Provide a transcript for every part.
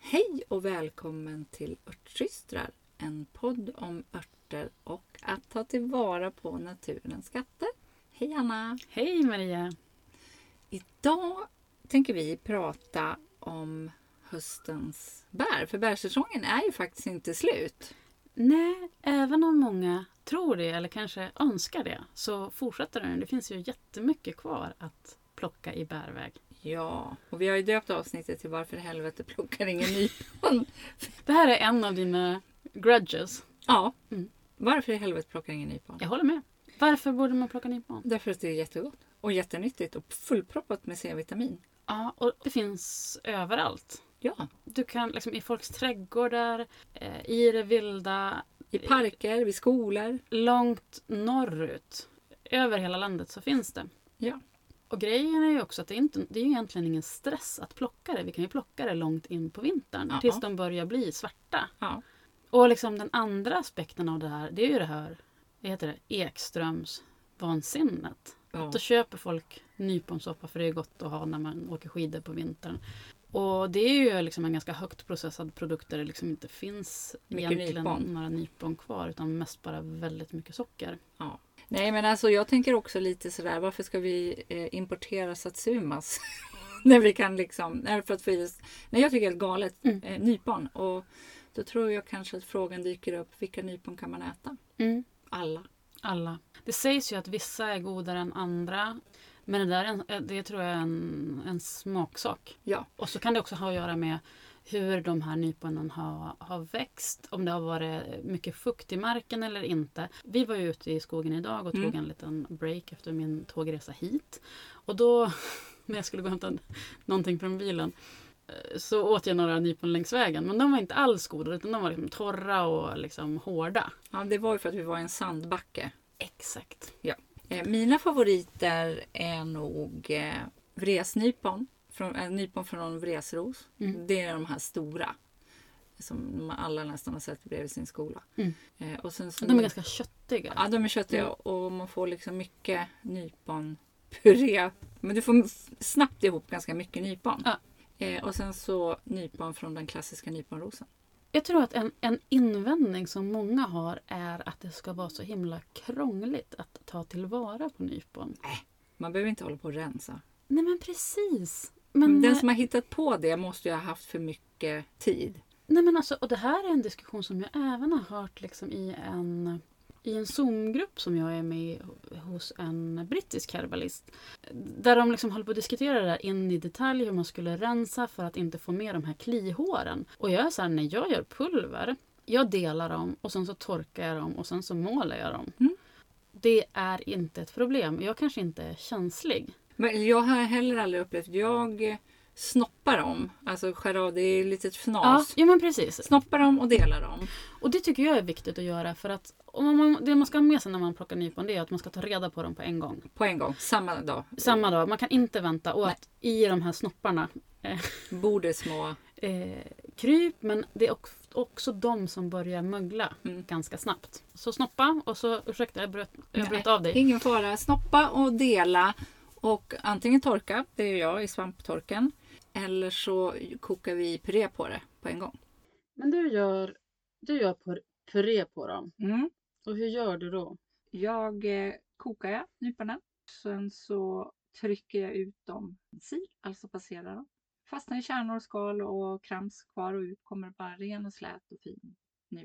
Hej och välkommen till Örtsystrar, en podd om örter och att ta tillvara på naturens skatter. Hej Anna! Hej Maria! Idag tänker vi prata om höstens bär, för bärsäsongen är ju faktiskt inte slut. Nej, även om många tror det eller kanske önskar det så fortsätter den. Det finns ju jättemycket kvar att plocka i bärväg. Ja, och vi har ju döpt avsnittet till Varför helvete plockar ingen nypon? Det här är en av dina grudges. Ja, Mm. varför i helvete plockar ingen nypon? Jag håller med. Varför borde man plocka nypon? Därför att det är jättegott och jättenyttigt och fullproppat med C-vitamin. Ja, och det finns överallt. Ja, Du kan liksom i folks trädgårdar, eh, i det vilda, i parker, vid skolor. långt norrut. Över hela landet så finns det. Ja. Och grejen är ju också att det, är inte, det är ju egentligen ingen stress att plocka det. Vi kan ju plocka det långt in på vintern Ja. tills de börjar bli svarta. Ja. Och liksom den andra aspekten av det här, det är ju det här, det heter det, Ekströms vansinnet. ja. Då köper folk nyponsoppa för det är gott att ha när man åker skidor på vintern. Och det är ju liksom en ganska högt processad produkt där det liksom inte finns Mycket egentligen nypon. några nypon kvar utan mest bara väldigt mycket socker. Nej men alltså jag tänker också lite sådär, varför ska vi eh, importera satsumas? när vi kan liksom, nej, för att få i oss, nej jag tycker det är helt galet, Mm. eh, nypon. Och då tror jag kanske att frågan dyker upp, vilka nypon kan man äta? Alla. Alla. Det sägs ju att vissa är godare än andra. Men det där är en, det tror jag är en, en smaksak. Ja. Och så kan det också ha att göra med hur de här nyponen har, har växt. Om det har varit mycket fukt i marken eller inte. Vi var ju ute i skogen idag och Mm. tog en liten break efter min tågresa hit. Och då, när jag skulle gå och hämta någonting från bilen, eh, så åt jag några nypon längs vägen. Men de var inte alls goda utan de var liksom torra och liksom hårda. ja, det var ju för att vi var i en sandbacke. Exakt. Eh, mina favoriter är nog eh, vresnypon, från, eh, nypon från vresros. Mm. Det är de här stora. Som alla nästan har sett bredvid sin skola. Mm. Eh, och sen så De är ganska köttiga. Ja, de är köttiga och man får liksom mycket nyponpuré. Men du får snabbt ihop ganska mycket nypon. Ja. Eh, och sen så nypon från den klassiska nyponrosen. Jag tror att en, en invändning som många har är att det ska vara så himla krångligt att ta tillvara på nypon. Man behöver inte hålla på och rensa. Nej men precis! Men, eh, den som har hittat på det måste ju ha haft för mycket tid. nej, men alltså, och det här är en diskussion som jag även har hört liksom i en i en Zoom-grupp som jag är med i hos en brittisk herbalist. Där de liksom håller på att diskutera det där in i detalj hur man skulle rensa för att inte få med de här klihåren. Och jag är så här, när jag gör pulver, jag delar dem och sen så torkar jag dem och sen så målar jag dem. Mm. Det är inte ett problem. Jag kanske inte är känslig. Men jag har heller aldrig upplevt, jag snoppar dem. Alltså skär av, det är lite Ja, fnas. ja men precis. Snoppar dem och delar dem. Och det tycker jag är viktigt att göra för att om man, det man ska ha med sig när man plockar nypon det är att man ska ta reda på dem på en gång. På en gång, samma dag. Samma dag, man kan inte vänta och att i de här snopparna Borde små. eh, kryp men det är ock- också de som börjar mögla Mm. ganska snabbt. Så snoppa och så, ursäkta jag bröt, jag bröt av dig. Ingen fara. Snoppa och dela. Och antingen torka, det gör jag i svamptorken. Eller så kokar vi puré på det på en gång. Men du gör, du gör puré på dem. Och hur gör du då? Mm. Jag eh, kokar jag nyporna. Sen så trycker jag ut dem i sil, alltså passerar dem. Fastnar i kärnor, skal och krams kvar och ut kommer bara ren och slät och fin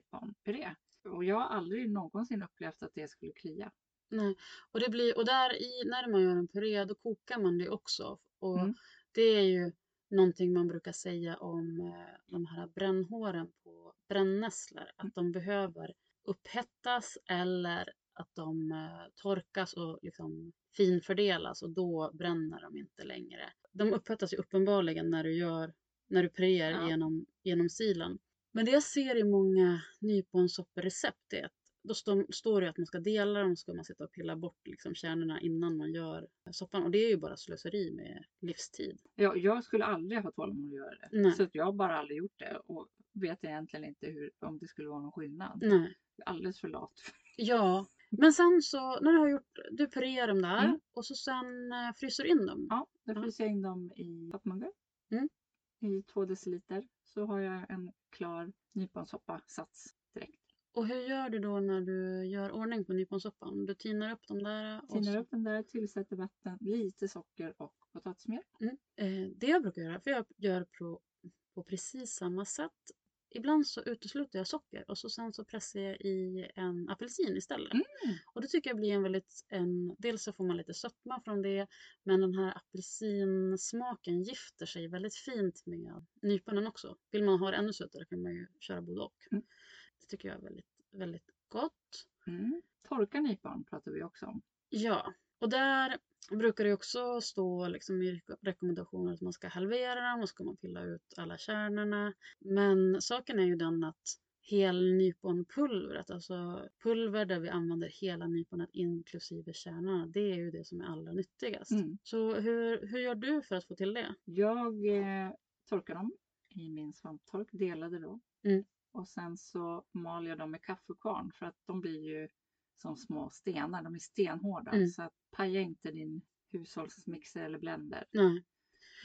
nyponpuré. Och jag har aldrig någonsin upplevt att det skulle klia. Nej. Och, det blir, och där i, när man gör en puré då kokar man det också. Och Mm. Det är ju någonting man brukar säga om eh, de här brännhåren på brännässlor. Att de behöver upphettas eller att de eh, torkas och liksom finfördelas och då bränner de inte längre. De upphettas ju uppenbarligen när du gör när du puréar Ja. genom, genom silen. Men det jag ser i många nyponsopperecept är att då stå, står det att man ska dela dem, ska man sitta och pilla bort liksom kärnorna innan man gör eh, soppan. Och det är ju bara slöseri med livstid. Jag, jag skulle aldrig ha tålamod att göra det. Nej. Så att jag har bara aldrig gjort det och vet egentligen inte hur, om det skulle vara någon skillnad. Nej. Jag är Alldeles för lat. Ja, men sen så när du har gjort, du purerar dem där Mm. och så sen eh, fryser du in dem. Ja, då Ja. fryser jag in dem i vattmuggar. Mm. i två deciliter så har jag en klar nyponsoppa-sats direkt. Och hur gör du då när du gör ordning på nyponsoppan? Du tinar upp de där? och Tinar så- upp den där, tillsätter vatten, lite socker och potatismjöl. Mm. Eh, det jag brukar göra, för jag gör på, på precis samma sätt. Ibland så utesluter jag socker och så sen så pressar jag i en apelsin istället. Mm. Och det tycker jag blir en väldigt, en, dels så får man lite sötma från det, men den här apelsinsmaken gifter sig väldigt fint med nyponen också. Vill man ha det ännu sötare kan man ju köra både och. Mm. Det tycker jag är väldigt, väldigt gott. Mm. Torka nypon pratar vi också om. Ja, och där brukar det också stå liksom i reko- rekommendationer att man ska halvera dem och ska man pilla ut alla kärnorna. Men saken är ju den att hel nyponpulvret, alltså pulver där vi använder hela nyponet inklusive kärnorna, det är ju det som är allra nyttigast. Mm. Så hur, hur gör du för att få till det? Jag eh, torkar dem i min svamptork, delade då. Mm. Och sen så mal jag dem med kaffekvarn för att de blir ju som små stenar, de är stenhårda. Mm. Så att paja inte din hushållsmixer eller blender Nej.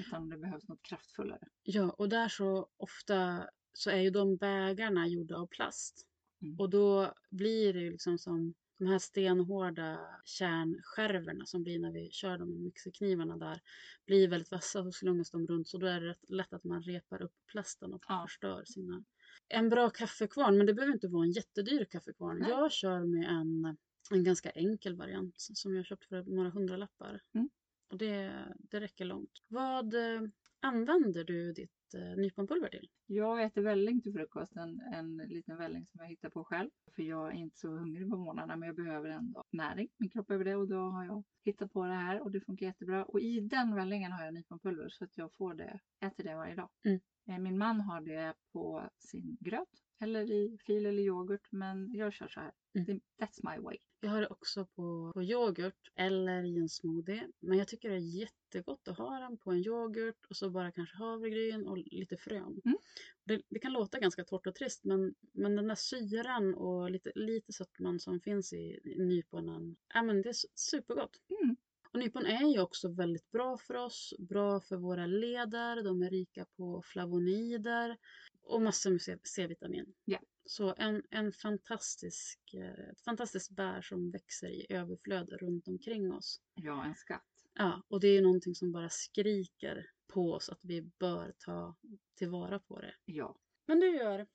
utan det behövs något kraftfullare. Ja, och där så ofta så är ju de bägarna gjorda av plast. Mm. Och då blir det ju liksom som de här stenhårda kärnskärvorna som blir när vi kör dem med mixerknivarna där blir väldigt vassa så slungas de runt så då är det rätt lätt att man repar upp plasten och Ja. förstör sina. En bra kaffekvarn, men det behöver inte vara en jättedyr kaffekvarn. Nej. Jag kör med en, en ganska enkel variant som jag köpt för några hundralappar. Mm. Och det, det räcker långt. Vad, eh, använder du ditt eh, nyponpulver till? Jag äter välling till frukosten, en liten välling som jag hittar på själv. För jag är inte så hungrig på morgnarna men jag behöver ändå näring. Min kropp behöver det och då har jag hittat på det här och det funkar jättebra. Och i den vällingen har jag nyponpulver så att jag får det, äter det varje dag. Mm. Eh, Min man har det på sin gröt eller i fil eller yoghurt men jag kör så här. Mm. Det- That's my way. Jag har det också på, på yoghurt eller i en smoothie. Men jag tycker det är jättegott att ha den på en yoghurt och så bara kanske havregryn och lite frön. Mm. Det, det kan låta ganska torrt och trist men, men den där syran och lite, lite sötman som finns i, i nyponen, ja men det är su- supergott. Mm. Och nypon är ju också väldigt bra för oss, bra för våra leder, de är rika på flavonider och massor med C- C-vitamin. Ja. Så en, en fantastisk, eh, ett fantastiskt bär som växer i överflöd runt omkring oss. Ja, en skatt. Ja, och det är ju någonting som bara skriker på oss att vi bör ta tillvara på det. Ja. Men du gör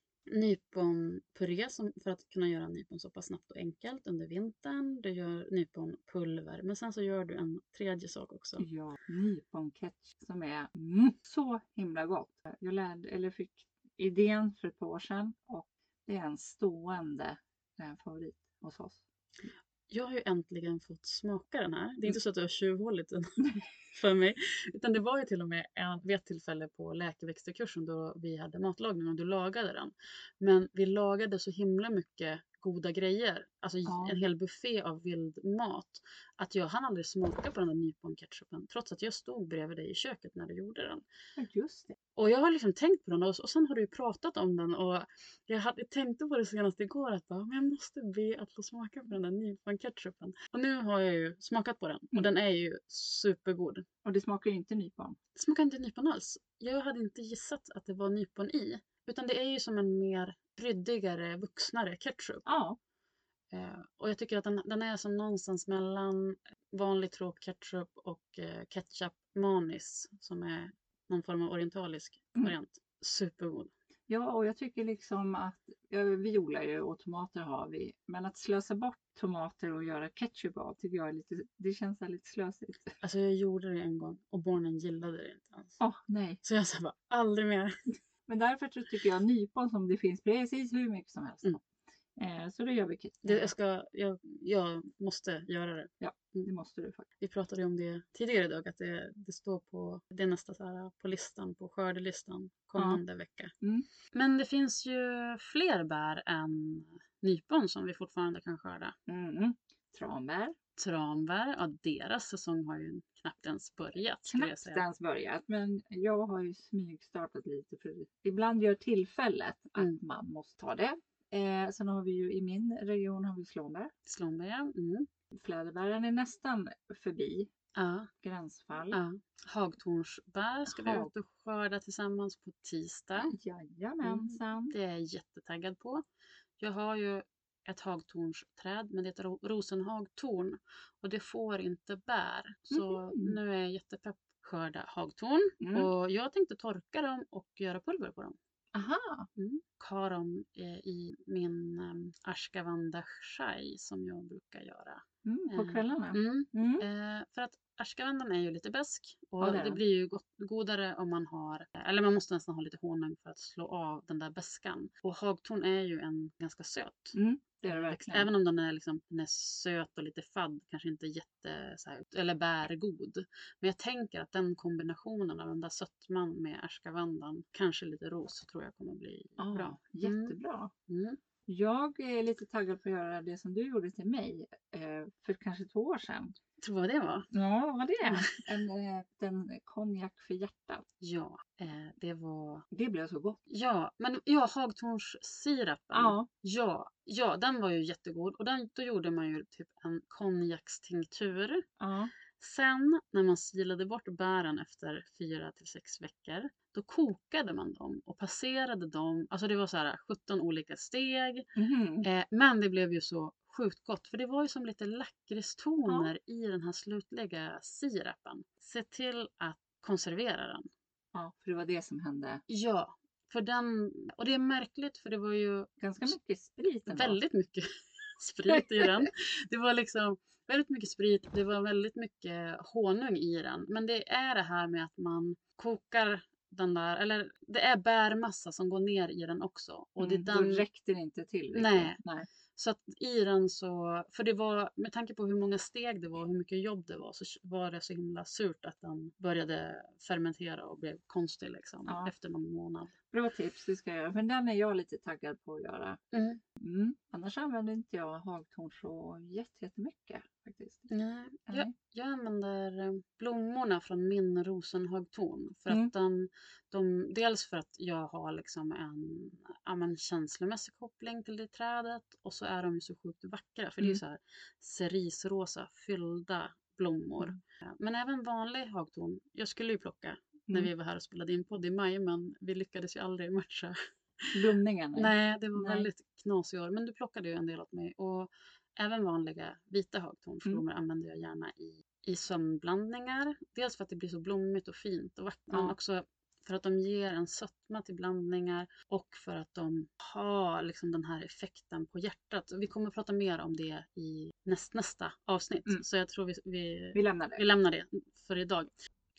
nyponpuré som, för att kunna göra nyponsoppa snabbt och enkelt under vintern. Du gör nyponpulver, men sen så gör du en tredje sak också. Ja, nyponketchup som är mm, så himla gott. Jag lärde, eller fick idén för ett par år sedan och det är en stående eh, favorit hos oss. Jag har ju äntligen fått smaka den här. Det är inte så att du har tjuvhållit den för mig. Utan det var ju till och med en, vid ett tillfälle på läkeväxterkursen då vi hade matlagning och du lagade den. Men vi lagade så himla mycket goda grejer. Alltså j- Ja. en hel buffé av vild mat. Att jag hann aldrig smaka på den där nyponketchupen trots att jag stod bredvid dig i köket när du gjorde den. Ja, just det. Och jag har liksom tänkt på den och, och sen har du ju pratat om den och jag hade, tänkte på det senast igår att bara, men jag måste be att få smaka på den där nypon-ketchupen. Och nu har jag ju smakat på den och Mm. den är ju supergod. Och det smakar ju inte nypon. Det smakar inte nypon alls. Jag hade inte gissat att det var nypon i. Utan det är ju som en mer kryddigare, vuxnare ketchup. Ja, Eh, och jag tycker att den, den är som någonstans mellan vanlig trop ketchup och eh, ketchup manis som är någon form av orientalisk Mm. variant. Supergod. ja och jag tycker liksom att ja, vi odlar ju och tomater har vi. Men att slösa bort tomater och göra ketchup av tycker jag är lite, det känns så här lite slösigt. Alltså jag gjorde det en gång och barnen gillade det inte alls. Åh, nej. Så jag sa bara aldrig mer. Men därför så tycker jag nypon som det finns precis hur mycket som helst. Mm. Eh, så det gör vi ketchup. Det, jag, ska, jag, jag måste göra det. det måste du faktiskt. Vi pratade ju om det tidigare idag att det, det står på, det är nästa så här, på listan, på skördelistan kommande vecka. Mm. Men det finns ju fler bär än nypon som vi fortfarande kan skörda. Mm. Tranbär. Tranbär, ja deras säsong har ju knappt ens börjat. skulle jag Knappt säga. ens börjat, men jag har ju smygstartat lite. För ibland gör tillfället att Mm. man måste ta det. Eh, sen har vi ju i min region har vi slånbär. Slånbär, ja. Mm. Fläderbären är nästan förbi. Ja, gränsfall. ja. Hagtornsbär ska vi Hag- ut och skörda tillsammans på tisdag. Jajamensan. Det är jag jättetaggad på. Jag har ju ett hagtornsträd, men det är ett ro- rosenhagtorn och det får inte bär. Så Mhm. nu är jag jättepepp skörda hagtorn Mm. och jag tänkte torka dem och göra pulver på dem. Aha, har dem eh, i min um, Ashkavanda chai som jag brukar göra. mm, på Eh, kvällarna. Mm. Mm. Eh, för att Ashkavandan är ju lite besk och Ja, det är det, den. blir ju gott, godare om man har, eller man måste nästan ha lite honung för att slå av den där beskan. Och hagtorn är ju en ganska söt Mm, det är det växt, verkligen. även om den är, liksom, den är söt och lite fadd, kanske inte jätte så här, eller bärgod. Men jag tänker att den kombinationen av den där sötman med Ashkavandan, kanske lite ros, tror jag kommer bli Ja, bra. Jättebra. Mm. Jag är lite taggad på att göra det som du gjorde till mig eh, för kanske två år sedan. Tror vad det var. Ja, vad var det? En, eh, en konjak för hjärtat. Ja, eh, det var... Det blev så gott. Ja, men ja, Hagtornssirapen. Ja, ja, ja, den var ju jättegod. Och den, då gjorde man ju typ en konjakstinktur. ja. Sen när man silade bort bären efter fyra till sex veckor, då kokade man dem och passerade dem. Alltså det var så här 17 olika steg. Mhm. Eh, men det blev ju så sjukt gott för det var ju som lite lakritstoner i den här slutliga sirapen. Se till att konservera den. ja, för det var det som hände. Ja, för den, och det är märkligt för det var ju Ganska mycket sprit ändå. väldigt mycket sprit i den. Det var liksom väldigt mycket sprit, det var väldigt mycket honung i den. Men det är det här med att man kokar den där, eller det är bärmassa som går ner i den också. Och det är Mm, Då den, räckte det inte till. riktigt. Nej. Nej. så att i den så, för det var, med tanke på hur många steg det var och hur mycket jobb det var så var det så himla surt att den började fermentera och blev konstig liksom Ja. efter någon månad. Bra tips, det ska jag göra. Men den är jag lite taggad på att göra. Mm. Mm. Annars använder inte jag hagtorn så jätte- jättemycket faktiskt. Nej, jag, Nej. Jag använder eh, blommorna från min rosenhagtorn. För Mm. att den, de, dels för att jag har liksom en ja, men känslomässig koppling till det trädet och så är de ju så sjukt vackra. För det är Mm. så här cerisrosa fyllda blommor. Mm. Eh, Men även vanlig hagtorn. Jag skulle ju plocka när Mm. vi var här och spelade in podd i maj men vi lyckades ju aldrig matcha. Blomningarna. Nej, det var Nej. väldigt knas i år. Men du plockade ju en del åt mig. Och även vanliga vita Mm. högtornsblommor använder jag gärna i, i sömnblandningar. Dels för att det blir så blommigt och fint och vackert. Men Ja. också för att de ger en sötma till blandningar och för att de har liksom den här effekten på hjärtat. Vi kommer att prata mer om det i näst, nästa avsnitt. Mm. Så jag tror vi, vi, Vi lämnar vi det. lämnar det för idag.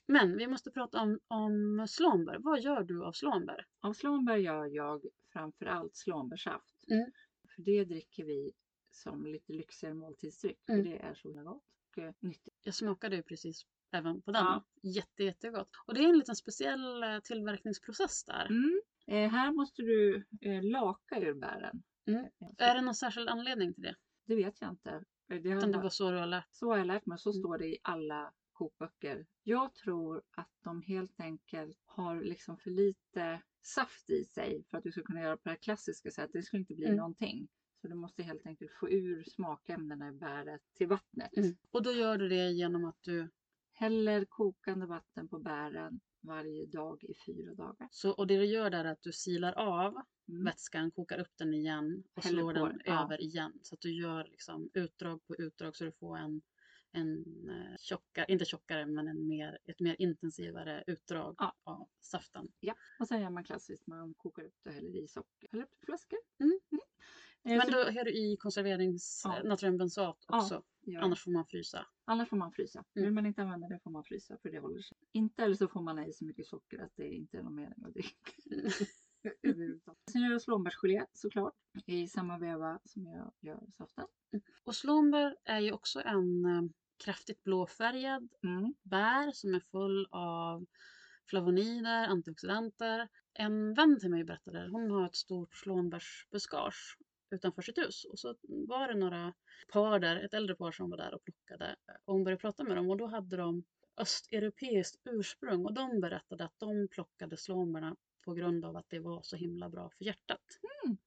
Men vi måste prata om, om slånbär. Vad gör du av slånbär? Av slånbär gör jag framförallt slånbärssaft. Mm. För det dricker vi som lite lyxigare måltidsdryck. Mm. För det är så himla gott och eh, nyttigt. Jag smakade ju precis även på den. Ja. Jätte, jättegott. Och det är en liten speciell eh, tillverkningsprocess där. Mm. Eh, här måste du eh, laka ur bären. Mm. Eh, så- Är det någon särskild anledning till det? Det vet jag inte. Eh, Det har Utan det bara- var så du har lärt Så har jag lärt mig, så Mm. står det i alla kokböcker. Jag tror att de helt enkelt har liksom för lite saft i sig för att du ska kunna göra på det här klassiska sättet. Det skulle inte bli Mm. någonting. Så du måste helt enkelt få ur smakämnena i bäret till vattnet. mm. Och då gör du det genom att du... Häller kokande vatten på bären varje dag i fyra dagar. Så, och det du gör där är att du silar av Mm. vätskan, kokar upp den igen och Häller slår på den det, ja. över igen. Så att du gör liksom utdrag på utdrag så du får en, en eh, tjockare, inte tjockare, men en mer, ett mer intensivare utdrag Ja. av saften. Och sen gör man klassiskt, man kokar upp det och häller i socker. Häller upp det i flaskor. Mm. Eh, Men så då har du i konserverings... Ja. eh, natriumbensat Ja. också. gör jag. Annars får man frysa. Annars får man frysa. Mm. Vill man inte använda det får man frysa för det håller sig. Inte eller så får man ha i så mycket socker att det inte är någon mening att dricka. överhuvudtaget. Sen gör jag slånbärsgelé såklart i samma veva som jag gör saften. Och slånbär är ju också en eh, kraftigt blåfärgad Mm. bär som är full av flavonoider, antioxidanter. En vän till mig berättade, hon har ett stort slånbärsbuskage utanför sitt hus. Och så var det några par där, ett äldre par som var där och plockade. Och hon började prata med dem och då hade de östeuropeiskt ursprung och de berättade att de plockade slånbärna på grund av att det var så himla bra för hjärtat.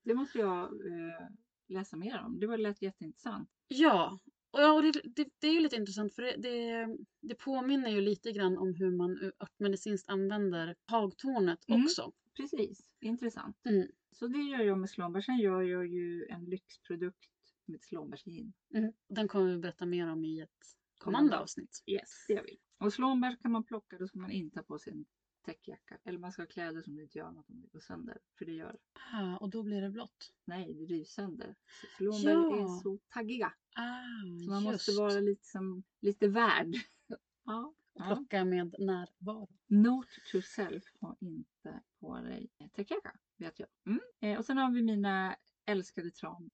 Det måste jag eh, läsa mer om. Det var lät jätteintressant. Ja, Och, ja, och det, det, det är ju lite intressant för det, det, det påminner ju lite grann om hur man ur- örtmedicinskt använder hagtornet Mm. också. Precis, intressant. Mm. Så det gör jag med slånbär. Sen gör jag ju en lyxprodukt med slånbärsgin. Mm. Den kommer vi berätta mer om i ett kommande Kommande. avsnitt. Yes, det gör vi. Och slånbär kan man plocka, då ska man inte ha på sig en täckjacka. Eller man ska ha kläder som inte gör något om det går sönder. För det gör, Ah, och då blir det blått. nej det rivs sönder. Så Slånbär Ja. är så taggiga. Ah, Så man måste just. vara liksom, lite värd. ja. ja. Plocka med närvaro. Note to self, ha inte på dig täckjacka. Vet jag. Mm. Eh, och sen har vi mina älskade tran.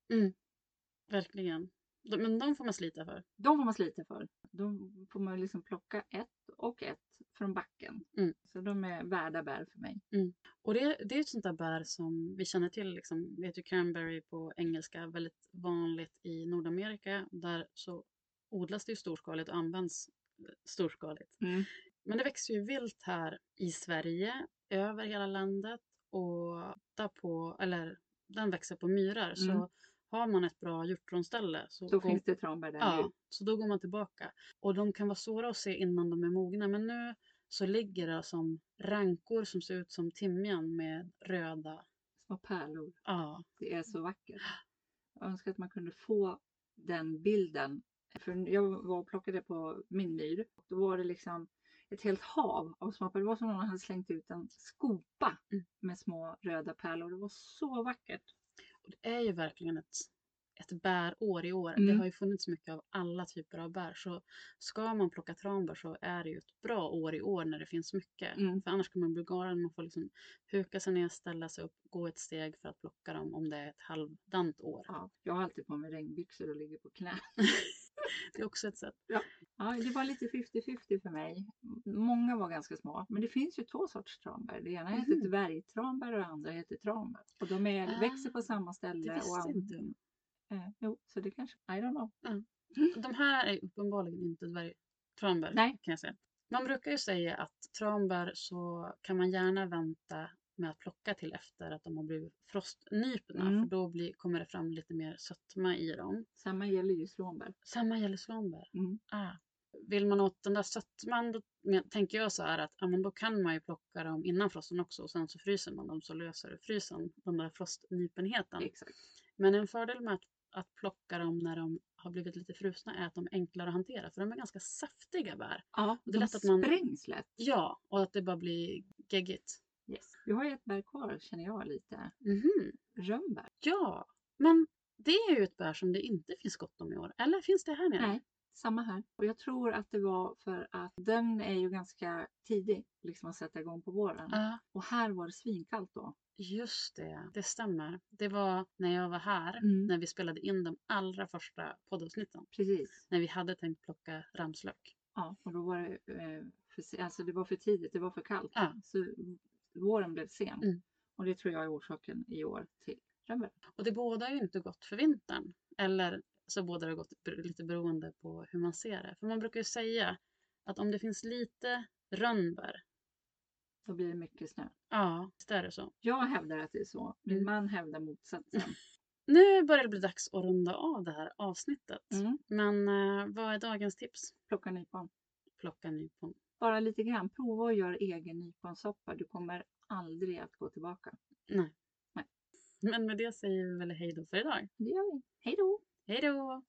Verkligen. De, men de får man slita för. De får man slita för. De får man liksom plocka ett och ett från backen. Mm. Så de är värda bär för mig. Och det, det är ett sånt där bär som vi känner till. Liksom, vi heter cranberry på engelska, väldigt vanligt i Nordamerika. Där så odlas det ju storskaligt och används eh, storskaligt. Mm. Men det växer ju vilt här i Sverige, över hela landet och där på, eller, den växer på myrar. Mm. Så har man ett bra hjortronställe så, Då går- finns det tranbär där Ja, nu. så då går man tillbaka. Och de kan vara svåra att se innan de är mogna, men nu så ligger det som rankor som ser ut som timjan med röda. Små pärlor. Ja, Det är så vackert. Jag önskar att man kunde få den bilden. För jag var och plockade på min myr. Och då var det liksom ett helt hav av små pärlor. Det var som om någon hade slängt ut en skopa Mm. med små röda pärlor. Det var så vackert. och det är ju verkligen ett, ett bärår i år. Det Mm. har ju funnits mycket av alla typer av bär, så ska man plocka tranbär så är det ju ett bra år i år när det finns mycket. Mm. För annars kan man bli galen, man får liksom huka sig ner, ställa sig upp, gå ett steg för att plocka dem om det är ett halvdant år. Ja, jag har alltid på mig regnbyxor och ligger på knä. Det är också ett sätt. Ja, det var lite 50-50 för mig. M- Många var ganska små, men det finns ju två sorts tranbär. Det ena heter Mhm. Ah, dvärgtranbär och det andra heter tranbär. Och de är, växer på samma ställe. Det visste och an- inte jag. Eh, jo, så det kanske, I don't know. De här är uppenbarligen inte dvärgtranbär Nej. kan jag säga. Man brukar ju säga att tranbär så kan man gärna vänta med att plocka till efter att de har blivit frostnypna Mm. för då blir, kommer det fram lite mer sötma i dem. Samma gäller ju slånbär. Samma gäller slanbär. Mm. Ah. Vill man åt den där sötman då men- tänker jag så här att ja, men då kan man ju plocka dem innan frosten också och sen så fryser man dem så löser det frysen, den där frostnypenheten. Exakt. Men en fördel med att, att plocka dem när de har blivit lite frusna är att de är enklare att hantera för de är ganska saftiga bär. Ja, det är de lätt att man- sprängs lätt. Ja, och att det bara blir geggigt. Yes. Vi har ju ett bär kvar känner jag lite. Mhm. Rönnbär. Ja, men det är ju ett bär som det inte finns gott om i år. Eller finns det här nere? Nej. Samma här. Och jag tror att det var för att den är ju ganska tidig liksom att sätta igång på våren. Ja, Och här var det svinkallt då. just det. Det stämmer. Det var när jag var här, Mm. när vi spelade in de allra första poddavsnitten. Precis. När vi hade tänkt plocka ramslök. Ja, och då var det, eh, för, se- alltså det var för tidigt, det var för kallt. Ja. Så våren blev sen. Mm. Och det tror jag är orsaken i år till rönnbär. Och det båda är ju inte gott för vintern. Eller så båda har gått ber- lite beroende på hur man ser det. För man brukar ju säga att om det finns lite rönnbär, Då blir det mycket snö. ja, visst är det så. Jag hävdar att det är så. Min Mm. man hävdar motsatsen. Nu börjar det bli dags att runda av det här avsnittet. Mm. Men eh, vad är dagens tips? Plocka nypon. Plocka nypon. Bara lite grann. Prova och gör egen nyponsoppa. Du kommer aldrig att gå tillbaka. Nej. Nej. Men med det säger vi väl hej då för idag. Det gör vi. Hej då! Hej då!